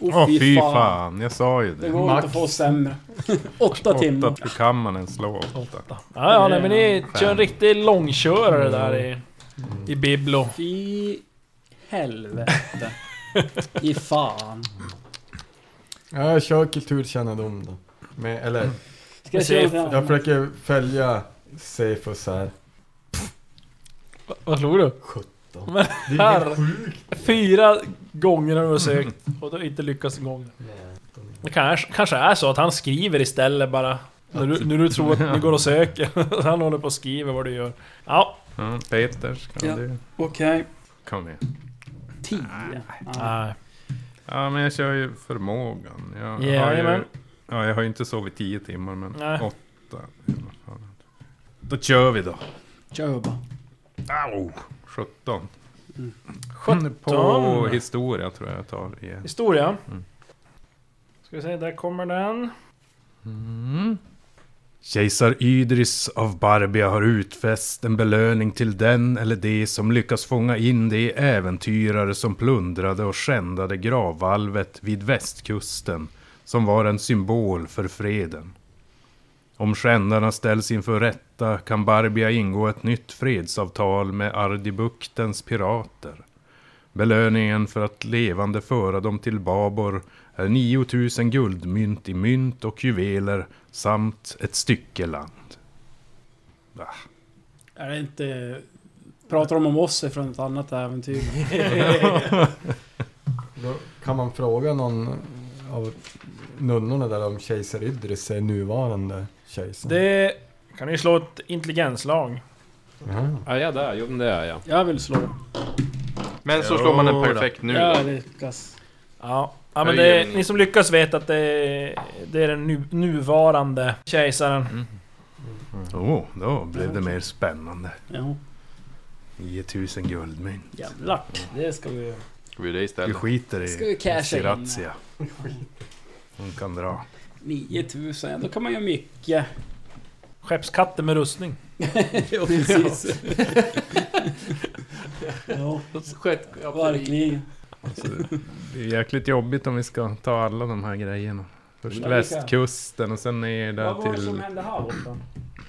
S9: Åh fy fan, jag sa ju
S4: Det
S9: det.
S4: går inte att få sämre. Åtta timmar.
S9: Åtta kan man ens slå åtta.
S2: Ja, ja, nej, men ni kör en riktig långkörare där i... I Biblo.
S4: Fy helvete. I fan.
S5: Ja, jag kör kulturkännedom då. Med, eller,
S4: Ska jag
S2: Jag ser-
S4: köra något
S5: jag
S4: annat?
S5: försöker följa Cephus här.
S2: Vad slog du?
S5: Det är
S2: Här.
S5: helt sjukt.
S2: Fyra gånger har du sökt och du har inte lyckats en gång. Det kanske, kanske är så att han skriver istället bara. När du, när du tror att ni går och söker. han håller på och skriver vad du gör. Ja.
S9: Ja, Peters kan
S4: Ja.
S9: du.
S4: Okej.
S9: Kom igen.
S4: Tio. Ja.
S2: Nej.
S9: Ja, men jag kör ju förmågan. Jag har
S2: Jajamän.
S9: ju, ja, jag har ju inte sovit tio timmar, men
S2: Nej.
S9: åtta. i alla fall. Då kör vi då.
S4: Kör bara.
S9: Au! 17.
S4: Mm.
S9: 17. På historia tror jag jag tar igen.
S2: Historia. Ska vi se, där kommer den.
S9: Kejsar Idris av Barbia har utfäst en belöning till den eller de som lyckas fånga in de äventyrare som plundrade och skändade gravvalvet vid västkusten som var en symbol för freden. Om skändarna ställs inför rätta kan Barbia ingå ett nytt fredsavtal med Ardibuktens pirater. Belöningen för att levande föra dem till Babor är 9000 guldmynt i mynt och juveler samt ett stycke land. Va?
S4: Är det inte... Pratar de om oss från ett annat äventyr?
S5: Då kan man fråga någon av nunnorna där om kejsar Idris är nuvarande kejsaren?
S2: Det... Kan ni slå ett intelligenslag?
S5: Ja.
S3: Ja, jag är där. Jo, men det är jag.
S4: Jag vill slå.
S8: Men så slår man en
S2: Jo då.
S8: perfekt nu
S4: Jag
S8: då.
S4: lyckas.
S2: Ja. Ja men
S8: Jag
S2: det,
S8: ger en-
S2: ni som lyckas vet att det, det är den nu, nuvarande kejsaren.
S4: Mm.
S9: Oh, då blev det mer spännande.
S4: Ja,
S9: 9000 guldmynt.
S4: jävlar. Det ska vi göra.
S8: Ska vi det
S9: Vi
S8: istället?
S9: skiter
S4: Ska vi
S9: i
S4: casha in?
S9: Sirazia. Hon kan dra.
S4: 9000, ja, då kan man göra mycket.
S2: Skeppskatten med rustning.
S4: ja, precis. ja,
S3: Skett, ja,
S4: verkligen.
S9: Det är jäkligt jobbigt om vi ska ta alla de här grejerna. Först
S4: Ja,
S9: västkusten och sen ner
S4: Vad
S9: där
S4: var det som
S9: till...
S4: hände här borta?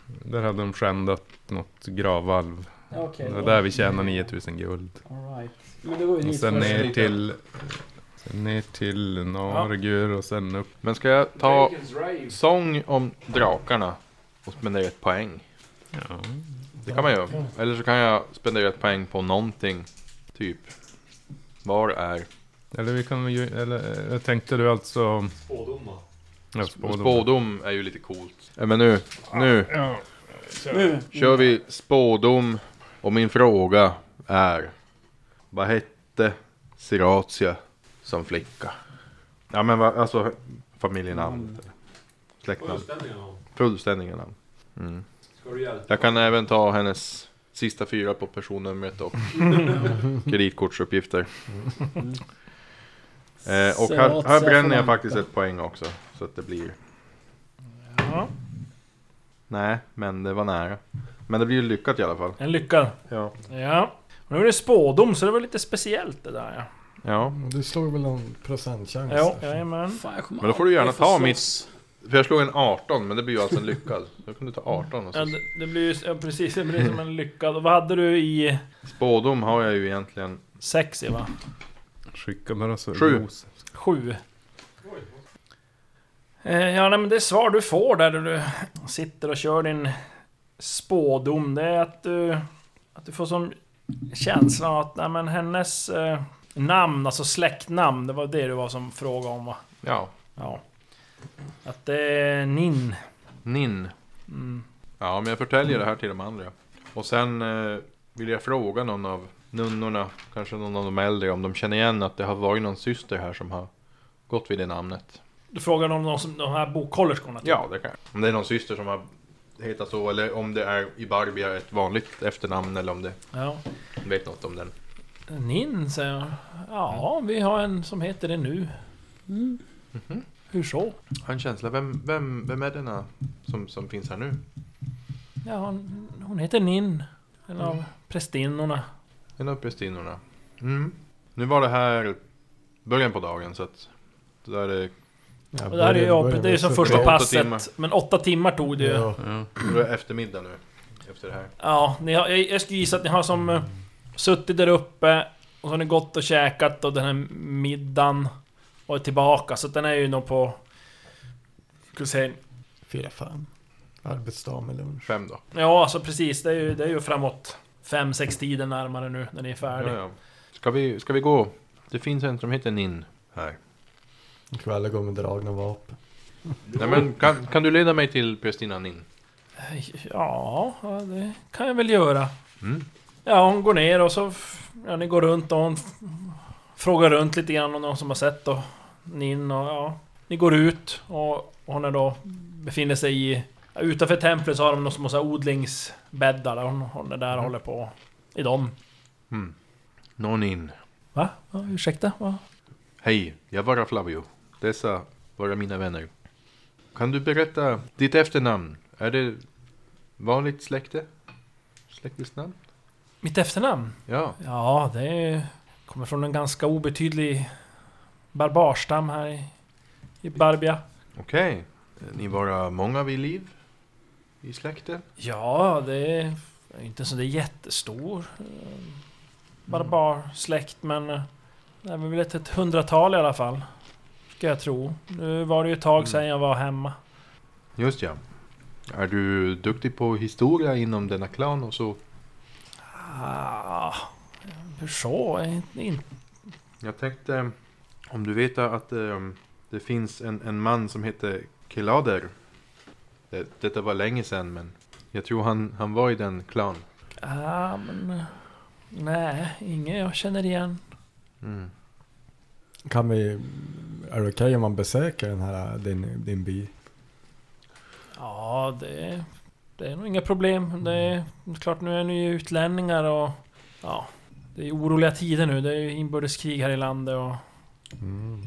S9: Där hade de skändat något gravvalv.
S4: Ja, Okej.
S9: Det
S4: då.
S9: var där vi tjänade 9000 guld.
S4: All right. Men då går vi
S9: Och
S4: dit
S9: sen
S4: först.
S9: ner till... Sen ner till Nargur och sen upp.
S8: Men ska jag ta sång om drakarna och spendera ett poäng?
S9: Ja.
S8: Det kan man göra. Eller så kan jag spendera ett poäng på någonting. Typ. Var är
S9: Eller vi kan ju... Eller eh, tänkte du alltså... Ja, spådom.
S8: Spådom är ju lite coolt. Ja, men nu, nu
S4: Nu.
S8: kör vi spådom. Och min fråga är. Vad hette Siratia som flicka? Ja men vad, alltså familjenamn. Släktnamn. Fullständiga namn. Mm. Jag kan även ta hennes sista fyra på personnumret och kreditkortsuppgifter. Eh, och här, här bränner jag faktiskt ett poäng också. Så att det blir...
S2: Ja.
S8: Nej, men det var nära. Men det blir ju lyckat i alla fall.
S2: En lyckad.
S8: Ja.
S2: Ja. Och nu är det spådom så det var lite speciellt det där ja.
S8: ja.
S5: Du slog väl någon procentchans?
S2: Jo,
S5: där?
S2: jajamän.
S4: Fan, jag kommer
S8: Men då får du gärna
S4: aldrig få
S8: ta
S4: slåss.
S8: mitt- För jag slog en 18, men det blir ju alltså en lyckad. Då kan du ta 18 och
S2: Ja,
S8: så.
S2: det, det blir ju ja, precis, det blir som en lyckad. Och vad hade du i
S8: Spådom har jag ju egentligen...
S2: sex i va?
S9: Skicka alltså, bara så...
S8: Sju.
S9: Ros.
S2: Sju. Eh, Ja, nej, men det svar du får där du sitter och kör din spådom, det är att du, att du får som känslan att nej, men hennes eh, namn, alltså släktnamn, det var det du var som frågade om va?
S8: Ja.
S2: Ja. Att det är Nin.
S8: Nin.
S2: Mm.
S8: Ja, men jag förtäljer det här till de andra. Och sen eh, vill jag fråga någon av nunnorna, kanske någon av de äldre, om de känner igen att det har varit någon syster här som har gått vid det namnet.
S2: Du frågade om de, som, de här bokhållerskorna? typ.
S8: Ja, det kan jag. Om det är någon syster som har hetat så, eller om det är i Barbia ett vanligt efternamn, eller om det
S2: ja.
S8: vet något om den.
S2: Nin, säger jag. Ja, vi har en som heter det nu. Hur så?
S8: Jag har en känsla, vem, vem, vem är denna som, som finns här nu?
S2: Ja, hon, hon heter Nin. En av prästinnorna.
S8: En av prästinnorna. Mm. Nu var det här början på dagen, så att det där är
S5: Ja,
S2: Och det här är ju
S5: börjar- börjar
S2: jobbigt, det är ju som
S5: med
S2: första
S8: åtta
S5: superbra.
S2: passet.
S8: timmar.
S2: Men åtta timmar tog det ju. Ja,
S5: Ja.
S8: det är eftermiddag nu. Efter det här.
S2: ni har, jag, jag skulle gissa att ni har som eh, suttit där uppe och så har ni gått och käkat och den här middagen och är tillbaka. Så att den är ju nog på... Skulle säga...
S5: Fyra, fem. Arbetsdag med lunch.
S8: Fem då.
S2: Ja, alltså precis. Det är ju, det är ju framåt 5-6 tiden närmare nu när ni är
S8: Ja,
S2: färdiga.
S8: ja. Ska, vi, ska vi gå? Det finns en som heter Nin här.
S5: Kvällar går med dragna vapen.
S8: Nej, men kan, kan du leda mig till prästinnan Nin?
S2: Ja, ja, det kan jag väl göra.
S8: Mm.
S2: Ja, hon går ner och så... f- Ja, ni går runt och hon f- frågar runt lite grann om någon som har sett och Nin och ja... Ni går ut och hon är då... Befinner sig i... Ja, utanför templet så har de några små så här odlingsbäddar där hon, hon är där och håller på i dem.
S8: Mm. Nå Nin.
S2: Va? Ja, ursäkta? Va?
S8: Hej, jag var Flavio. Dessa var mina vänner. Kan du berätta ditt efternamn? Är det vanligt släkte? Släktesnamn?
S2: Mitt efternamn?
S8: Ja.
S2: Ja, det kommer från en ganska obetydlig barbarstam här i, i Barbia.
S8: Okej. Ni var många vid liv i släkten?
S2: Ja, det är inte så det är jättestor eh, barbarsläkt, men eh, det är väl ett, ett hundratal i alla fall. Ska jag tro. Nu var det ju ett tag sedan jag var hemma.
S8: Just ja. Är du duktig på historia inom denna klan och så?
S2: Ah, hur så? Inte, inte.
S8: Jag tänkte om du vet att ehm, det finns en, en man som heter Kelader. Det, detta var länge sedan men jag tror han, han var i den klan.
S2: Ah, men... eh, Nej, ingen jag känner igen.
S8: Mm.
S5: Kan vi... Är det okej om man besöker den här, din, din by?
S2: Ja, det, det är nog inga problem. Det är klart, nu är ni ju utlänningar och... Ja, det är oroliga tider nu. Det är ju inbördeskrig här i landet och...
S8: Mm.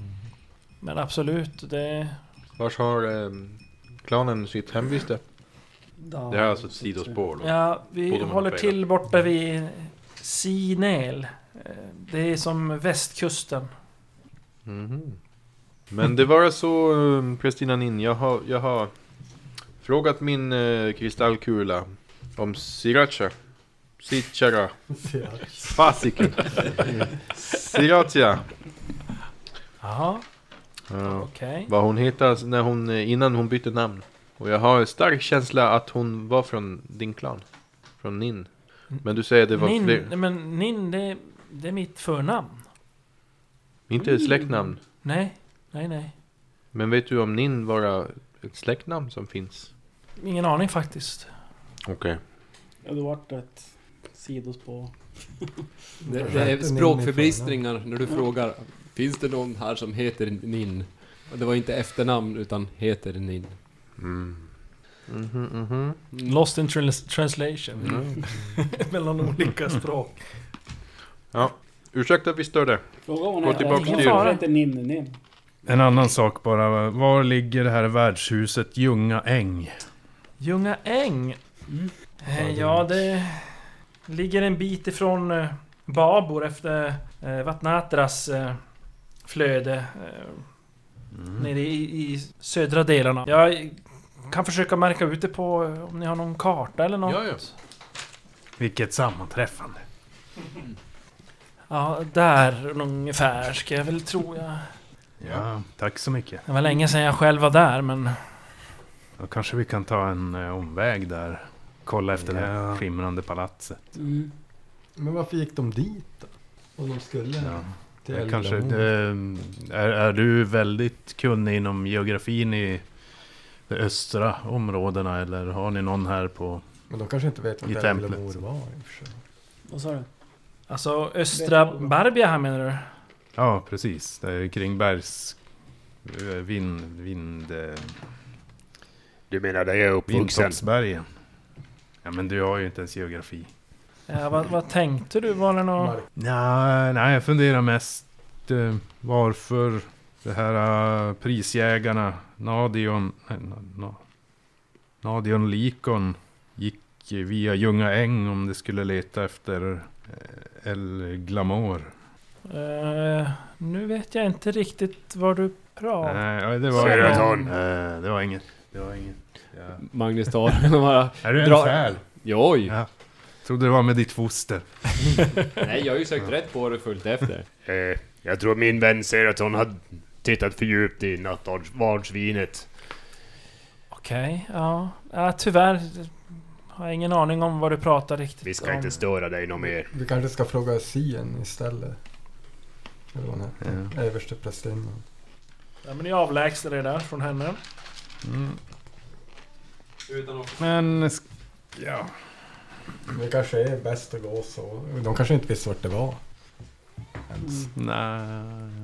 S2: Men absolut, det...
S8: Vars har ehm, klanen sitt hemviste? Det här är alltså ett sidospår då.
S2: Ja, vi
S8: Både med
S2: håller
S8: och
S2: till borta vid Sinel. Eh, Det är som västkusten.
S8: Mhm. Men det var så, eh, prästinnan in. Jag har, jag har frågat min eh, kristallkula om sriracha. Sitchara. Fasiken. Sriracha.
S2: Jaha,
S8: Ja,
S2: okej.
S8: vad hon heter när hon, eh, innan hon bytte namn. Och jag har en stark känsla att hon var från din klan. Från Nin. Men du säger det var
S2: Nin,
S8: fler.
S2: nej, men Nin, det, det är mitt förnamn.
S8: Inte ett släktnamn.
S2: Nej, nej, nej.
S8: Men vet du om Nin var ett släktnamn som finns?
S2: Ingen aning faktiskt.
S8: Okej.
S4: Ja, det vart ett sidospår.
S3: Det, det är
S5: Rätten in i
S3: språkförbistringar när du frågar Finns det någon här som heter Nin? Och det var inte efternamn utan heter Nin.
S8: Mhm, mhm.
S2: Lost in trans- translation.
S8: Mm.
S2: Mellan olika språk.
S8: Ursäkta att vi störde.
S4: Fråga vad hon
S8: Gå
S4: heter.
S8: tillbaka
S2: till-
S4: Hon heter Ninni Nin.
S9: En annan sak bara. Var ligger det här värdshuset Ljunga äng?
S2: Ljunga äng.
S8: Mm.
S2: Eh, Ja, det ligger en bit ifrån eh, Babor efter eh, Vatnatras eh, flöde. Eh, Nere i, i södra delarna. Jag kan försöka märka ut det på eh, om ni har någon karta eller något.
S8: Ja, ja.
S9: Vilket sammanträffande.
S2: Ja, där ungefär ska jag väl tro. Jag.
S9: Ja, tack så mycket.
S2: Det var länge sedan jag själv var där men...
S9: Då kanske vi kan ta en eh, omväg där. Kolla efter det här skimrande palatset.
S4: Mm.
S5: Men varför gick de dit då? Om de skulle
S9: Ja.
S5: till
S9: Det kanske,
S5: Eldamon?
S9: eh, är, är du väldigt kunnig inom geografin i de östra områdena eller har ni någon här på...
S5: Men de kanske inte vet
S9: I
S5: vad
S9: templet.
S5: Eldamor var i och för sig.
S4: Vad sa du?
S2: Alltså östra Barbia här menar du?
S9: Ja, precis. Det är kring bergs... eh, Vind... Vind... eh,
S7: Du menar där jag är uppvuxen?
S9: Vindtoppsbergen. Ja, men du har ju inte ens geografi.
S2: Ja, vad, vad tänkte du? Var det någon...
S9: Nej, nej jag funderar mest eh, varför det här eh, prisjägarna Nadion... nej, na- na- Nadion Likon gick eh, via Ljunga äng om de skulle leta efter eh, El Glamour.
S2: Eh, nu vet jag inte riktigt vad du pratar om.
S9: Nej, det var,
S7: Seraton.
S9: Nej, det var inget. Det var inget. Ja.
S3: Magnus tar den och bara...
S9: Är du ens
S3: Dra-
S9: här?
S3: Joj!
S9: Ja. Trodde det var med ditt foster.
S3: Nej, jag har ju sökt rätt på det fullt efter.
S7: Eh, jag tror min vän säger att hon har tittat för djupt i nattvardsvinet.
S2: Okej, ja. ja. Tyvärr har jag ingen aning om vad du pratar riktigt
S7: Vi ska
S2: om.
S7: inte störa dig något mer.
S5: Vi kanske ska fråga Sien istället. Eller vad hon heter. Översteprästinnan.
S2: Ja, men ni avlägsnade er där från henne.
S9: Men... sk- Ja.
S5: Det kanske är bäst att gå så. De kanske inte visste vart det var. Ens.
S9: Nej.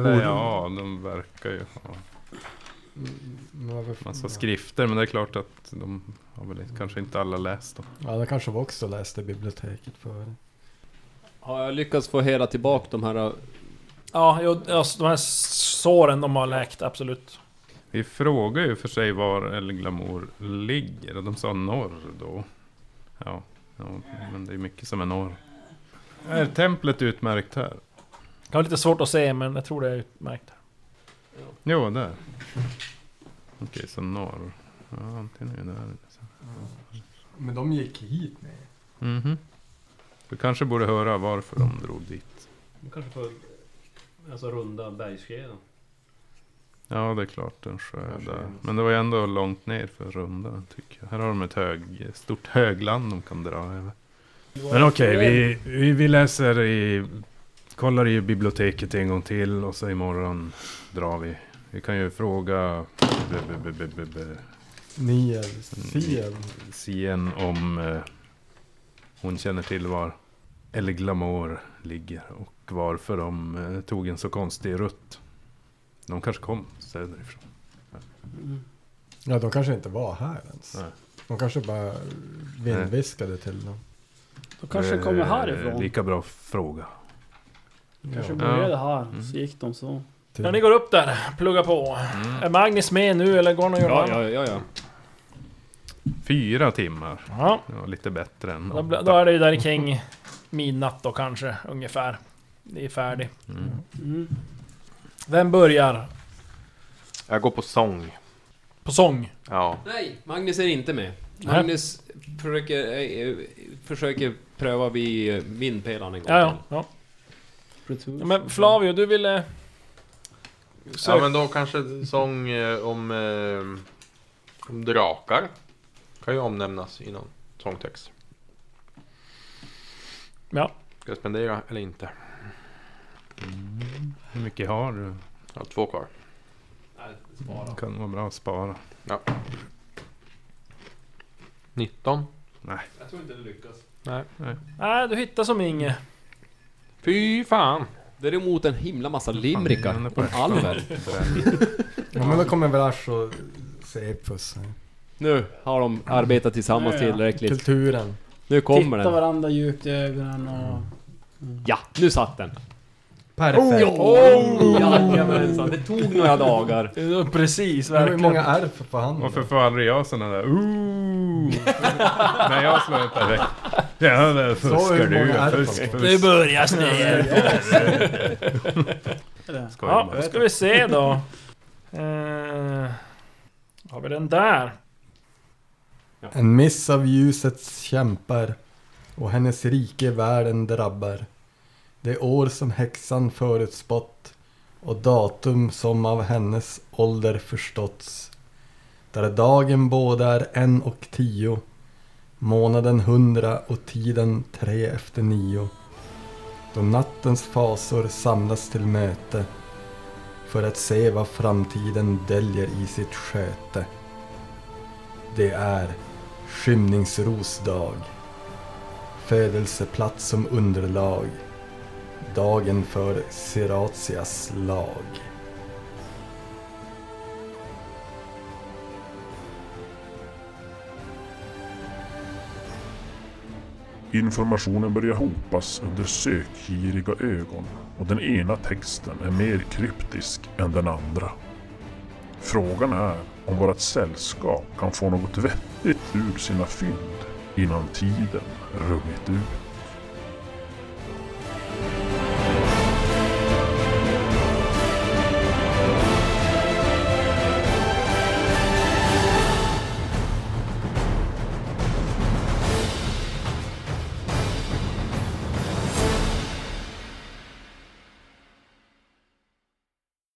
S9: Eller ja, de verkar ju ha
S5: Men varför-
S9: massa skrifter. Men det är klart att de har väl inte- kanske inte alla läst dem.
S5: Ja, det kanske var också läste i biblioteket för.
S3: Har jag lyckats få hela tillbaka de här...
S2: Ja, jo, alltså, de här såren de har läkt, absolut.
S9: Vi frågade ju för sig var El Glamour ligger och de sa norr då. Ja, ja men det är mycket som är norr. Är templet utmärkt här?
S2: Det var lite svårt att se men jag tror det är utmärkt.
S9: Jo, där. Okej, så norr. Ja, antingen är det där.
S5: Men de gick hit med.
S9: Mhm. Du kanske borde höra varför de drog dit.
S10: Man kanske får alltså, runda bergskedjan.
S9: Ja, det är klart en sjö där. Men det var ju ändå långt ner för runda, tycker jag. Här har de ett hög, stort högland de kan dra över. Men okej, vi, vi, vi läser i... Kollar i biblioteket en gång till och så imorgon drar vi. Vi kan ju fråga... b- b- b- b- b-
S5: Niel, Siev.
S9: Sien om eh, hon känner till var El Glamour ligger och varför de eh, tog en så konstig rutt. De kanske kom söderifrån.
S5: Ja, de kanske inte var här ens.
S9: Nej.
S5: De kanske bara vindviskade till dem.
S4: De kanske kommer
S9: Eh,
S4: härifrån.
S9: Lika bra fråga.
S4: kanske
S3: Eh,
S5: Ja.
S4: började
S3: Mm.
S4: här, så gick de så.
S2: Ja, ni går upp där, pluggar på. Är Magnus med nu eller går han och gör
S3: Ja,
S2: något
S3: ja,
S2: annat?
S3: ja, ja.
S9: Fyra timmar.
S2: Ja,
S9: Det var lite bättre än
S2: då, bl-
S9: åtta.
S2: då är det ju där kring midnatt då kanske, ungefär. Det är färdigt.
S9: Mm.
S4: Mm.
S2: Vem börjar?
S8: Jag går på sång.
S2: På sång?
S8: Ja.
S3: Nej, Magnus är inte med.
S2: Nej.
S3: Magnus försöker, eh, eh, försöker pröva vid eh, vindpelaren en gång
S2: Ja, ja.
S3: till.
S2: ja.
S4: Pretur.
S2: ja men Flavio, du ville... Sök.
S8: ja, men då kanske sång eh, om, eh, om drakar. Kan ju omnämnas i någon sångtext.
S2: Ja.
S8: Ska jag spendera eller inte?
S9: Hur mycket har du?
S8: Jag har två kvar.
S9: Det kan vara bra att spara.
S8: 19.
S3: Jag tror inte det lyckas.
S2: Nej, du hittar som inget.
S8: Fy fan!
S3: Däremot en himla massa limrikar
S9: Fan, det är på
S3: om
S9: efterhand.
S3: Alver.
S5: Ja, men då kommer väl Ash och Sepus.
S3: Nu har de arbetat tillsammans
S4: Ja, ja.
S3: tillräckligt.
S5: Kulturen.
S3: Nu kommer
S4: Titta
S3: den.
S4: varandra djupt i ögonen och...
S3: Ja, nu satt den.
S5: Perfekt.
S3: Oh, jajamensan. Det tog några dagar.
S2: Precis,
S5: Det var ju
S2: verkligen.
S5: många R på handen.
S9: Varför får aldrig jag sådana där ooh? Nej, jag slår inte direkt. Ja, där
S5: Så
S9: fuskar
S5: hur
S9: du.
S5: många är det
S9: Fusk,
S5: på?
S2: Nu
S9: fusk.
S2: börjar snöet.
S4: Eller?
S9: Skojar
S2: Ja,
S9: bara.
S2: då ska vi se då. Eh, har vi den där?
S5: En miss av ljusets kämpar och hennes rike världen drabbar. Det år som häxan förutspått och datum som av hennes ålder förståtts. Där dagen båda är en och tio, månaden hundra och tiden tre efter nio. Då nattens fasor samlas till möte för att se vad framtiden döljer i sitt sköte. Det är Skymningsrosdag. Födelseplats som underlag. Dagen för Seratias lag.
S1: Informationen börjar hopas under sökgiriga ögon och den ena texten är mer kryptisk än den andra. Frågan är om vårt sällskap kan få något vettigt ur sina fynd innan tiden runnit ut.